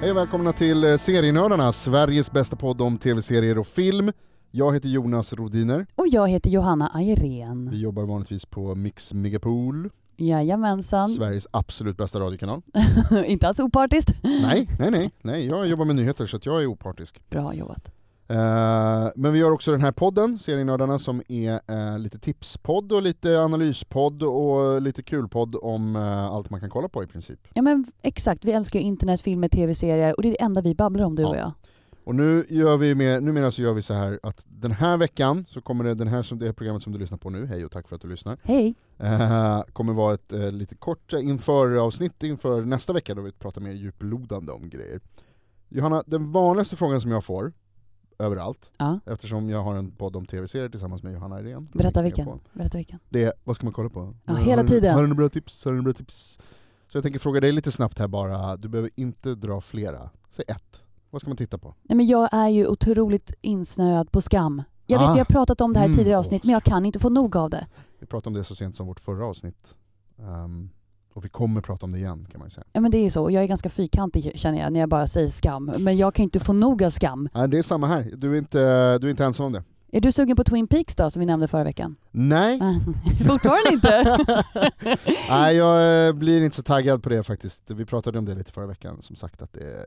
Hej och välkomna till eh, Serienördarna, Sveriges bästa podd om tv-serier och film. Jag heter Jonas Rodiner. Och jag heter Johanna Ayrén. Vi jobbar vanligtvis på Mix Megapol, Jajamensan. Sveriges absolut bästa radiokanal. Inte alls opartiskt. Nej, nej, nej, nej, jag jobbar med nyheter så att jag är opartisk. Bra jobbat. Eh, Men vi gör också den här podden, Serienördarna, som är eh, lite tipspodd och lite analyspodd och lite kulpodd om eh, allt man kan kolla på i princip. Ja men exakt, vi älskar ju internet, filmer, tv-serier och det är det enda vi babblar om du Ja. och jag. Och nu gör vi med, numera så gör vi så här att den här veckan så kommer det, den här som, det här programmet som du lyssnar på nu, hej och tack för att du lyssnar, Hej. eh, kommer vara ett eh, lite kort inför-avsnitt inför nästa vecka då vi pratar mer djuplodande om grejer. Johanna, den vanligaste frågan som jag får överallt, Ja, eftersom jag har en podd om tv-serier tillsammans med Johanna Irén. berätta vilken. Berätta vilken. Det är, vad ska man kolla på? Ja, Har- hela har- tiden. Har du några bra tips? Har du några bra tips? Så jag tänker fråga dig lite snabbt här bara, du behöver inte dra flera. Säg ett. Vad ska man titta på? Nej men jag är ju otroligt insnöad på skam. Jag vet, Ah. jag har pratat om det här i Mm. tidigare avsnitt men jag kan inte få nog av det. Vi pratade om det så sent som vårt förra avsnitt. Ehm, och vi kommer prata om det igen kan man ju säga. Ja men det är ju så, och jag är ganska fyrkantig känner jag när jag bara säger skam. Men jag kan inte få nog av skam. Nej, det är samma här, du är, inte, du är inte ensam om det. Är du sugen på Twin Peaks då som vi nämnde förra veckan? Nej. Fortfarande inte? Nej, jag eh, blir inte så taggad på det faktiskt. Vi pratade om det lite förra veckan, som sagt att det är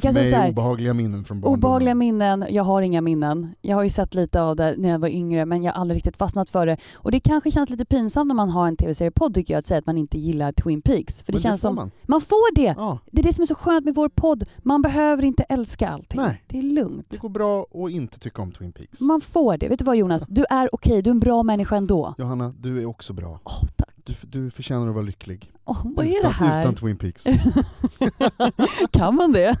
för kan säga så mig här, obehagliga minnen från barndomen. Obehagliga minnen, jag har inga minnen. Jag har ju sett lite av det när jag var yngre men jag har aldrig riktigt fastnat för det. Och det kanske känns lite pinsamt när man har en tv-seriepodd tycker jag att säga att man inte gillar Twin Peaks. För det Men känns får som, man. man får det! Ja, Det är det som är så skönt med vår podd. Man behöver inte älska allting. Nej. Det är lugnt. det går bra att inte tycka om Twin Peaks. Man får det. Vet du vad Jonas? Du är okej, du är en bra människa ändå. Johanna, du är också bra. Åh tack. Du, du förtjänar att vara lycklig. Åh, vad är det utan, här? utan Twin Peaks. Kan man det?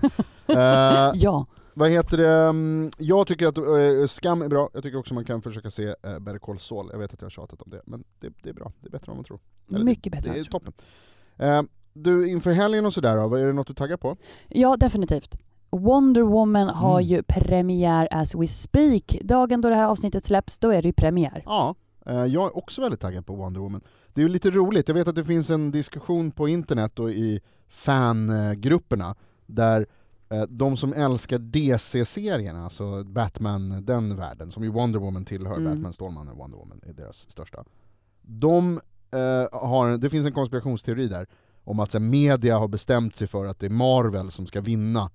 Eh, Ja. Vad heter det? Mm, Jag tycker att eh, Skam är bra, jag tycker också man kan försöka se eh, Better Call Saul. Jag vet att jag har tjatat om det, men det, det är bra. Det är bättre än vad man tror. Eller, Mycket bättre. Det än är jag tror. toppen. Eh, Du, inför helgen och sådär då, vad är det något du taggar på? Ja, definitivt. Wonder Woman har Mm. ju premiär as we speak. Dagen då det här avsnittet släpps, då är det ju premiär. Ja. eh, Jag är också väldigt taggad på Wonder Woman. Det är ju lite roligt, jag vet att det finns en diskussion på internet och i fangrupperna där eh, de som älskar DC-serien, alltså Batman, den världen, som ju Wonder Woman tillhör, Mm. Batman, Stålmannen, Wonder Woman är deras största. De eh, har, det finns en konspirationsteori där om att så här, media har bestämt sig för att det är Marvel som ska vinna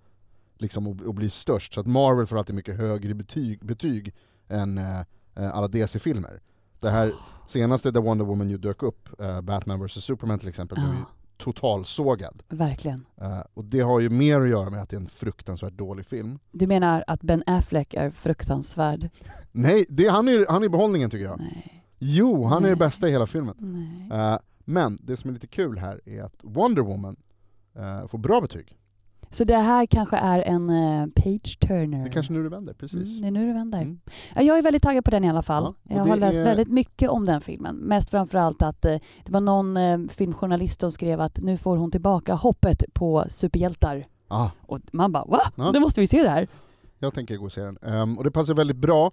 liksom, och, och bli störst. Så att Marvel får alltid mycket högre betyg, betyg än eh, eh, alla DC-filmer. Det här senaste där Wonder Woman ju dök upp, eh, Batman vs Superman till exempel, blev ju Ja, totalsågad. verkligen. Eh, och det har ju mer att göra med att det är en fruktansvärt dålig film. Du menar att Ben Affleck är fruktansvärd? Nej, det, han är han är i behållningen tycker jag. Nej. Jo, han är det Nej. bästa i hela filmen. Nej. Eh, men det som är lite kul här är att Wonder Woman eh, får bra betyg. Så det här kanske är en eh, page turner? Det är kanske nu det vänder, precis. Mm, det är nu det vänder. Mm. Ja, Jag är väldigt taggad på den i alla fall. Ja, och jag har det läst är- väldigt mycket om den filmen. Mest framförallt att eh, det var någon eh, filmjournalist som skrev att nu får hon tillbaka hoppet på superhjältar. Ah, Och man bara va? Ja. Nu måste vi se det här. jag tänker gå och se den. Ehm, och det passar väldigt bra,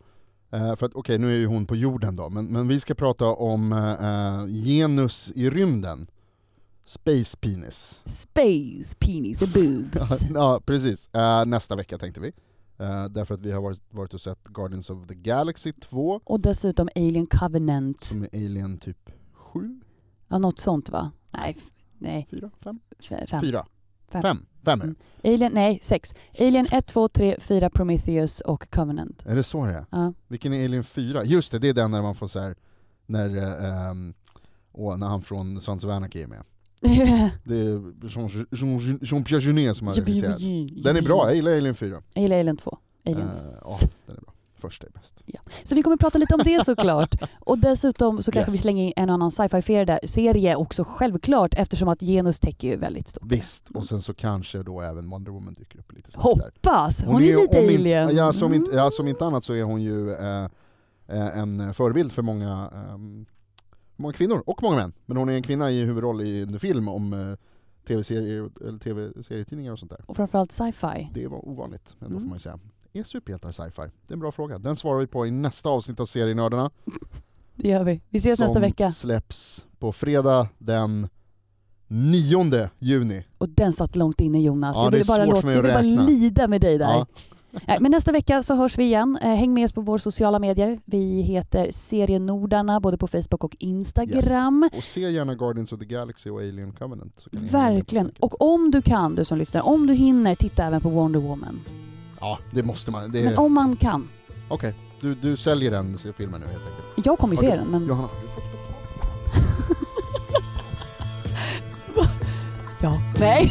eh, för att okej nu är ju hon på jorden då, men, men vi ska prata om eh, genus i rymden. Space penis. Space, penis and boobs. ja, precis. Eh, nästa vecka tänkte vi. Eh, därför att vi har varit, varit och sett Guardians of the Galaxy 2, Och dessutom Alien Covenant. som är Alien typ 7, Ja, något sånt va? Nej, f- nej 4, 5, f- fem. 4, Fem. 5. 5 är det. Mm. Alien, nej, sex. Alien 1, 2, 3, 4, Prometheus och Covenant. Är det så det är? Ja. Vilken är Alien 4? Just det, det är den när man får så här, när, eh, ehm, åh, när han från Sons of Anarchy är med. Det är Jean- Jean- Jean-Pierre Jeunet som har regisserat. Den är bra, jag gillar Alien 4. Jag gillar Alien 2. Eh, Aliens. ja, den är bra. Första är bäst. Så vi kommer prata lite om det såklart. Och dessutom så kanske Yes. vi slänger in en och annan sci-fi där- serie också självklart eftersom att genus täcker ju väldigt stort. Visst, och sen så kanske då även Wonder Woman dyker upp lite snabbt där. Hoppas! Hon, är, lite om alien. Mm. Inte, ja, som inte, ja, som inte annat så är hon ju eh, eh, en förebild för många, ehm, många kvinnor och många män. Men hon är en kvinna i huvudroll i en film om eh, tv-serier och- eller tv-serietidningar och sånt där. Och framförallt sci-fi. Det var ovanligt, men då Mm. får man ju säga. Är superhjältar sci-fi? Det är en bra fråga. Den svarar vi på i nästa avsnitt av Serienördarna. Det gör vi. Vi ses som nästa vecka. släpps på fredag den 9 juni. Och den satt långt inne Jonas. Ja, jag det ville är bara, svårt låta, för mig jag att ville bara räkna. lida med dig där. Ja. Nej, Men nästa vecka så hörs vi igen. Eh, Häng med oss på våra sociala medier. Vi heter Serienordarna både på Facebook och Instagram. Mm. Och se gärna Guardians of the Galaxy och Alien Covenant. så kan ni hänga med på Verkligen. snacket. Och om du kan, du som lyssnar, om du hinner, titta även på Wonder Woman. Ja, det måste man. Det Men är... Okej, om man kan. du, du säljer den se- filmen nu helt enkelt. Jag kommer ju se Ja, den, men... Johanna, Ja. Nej.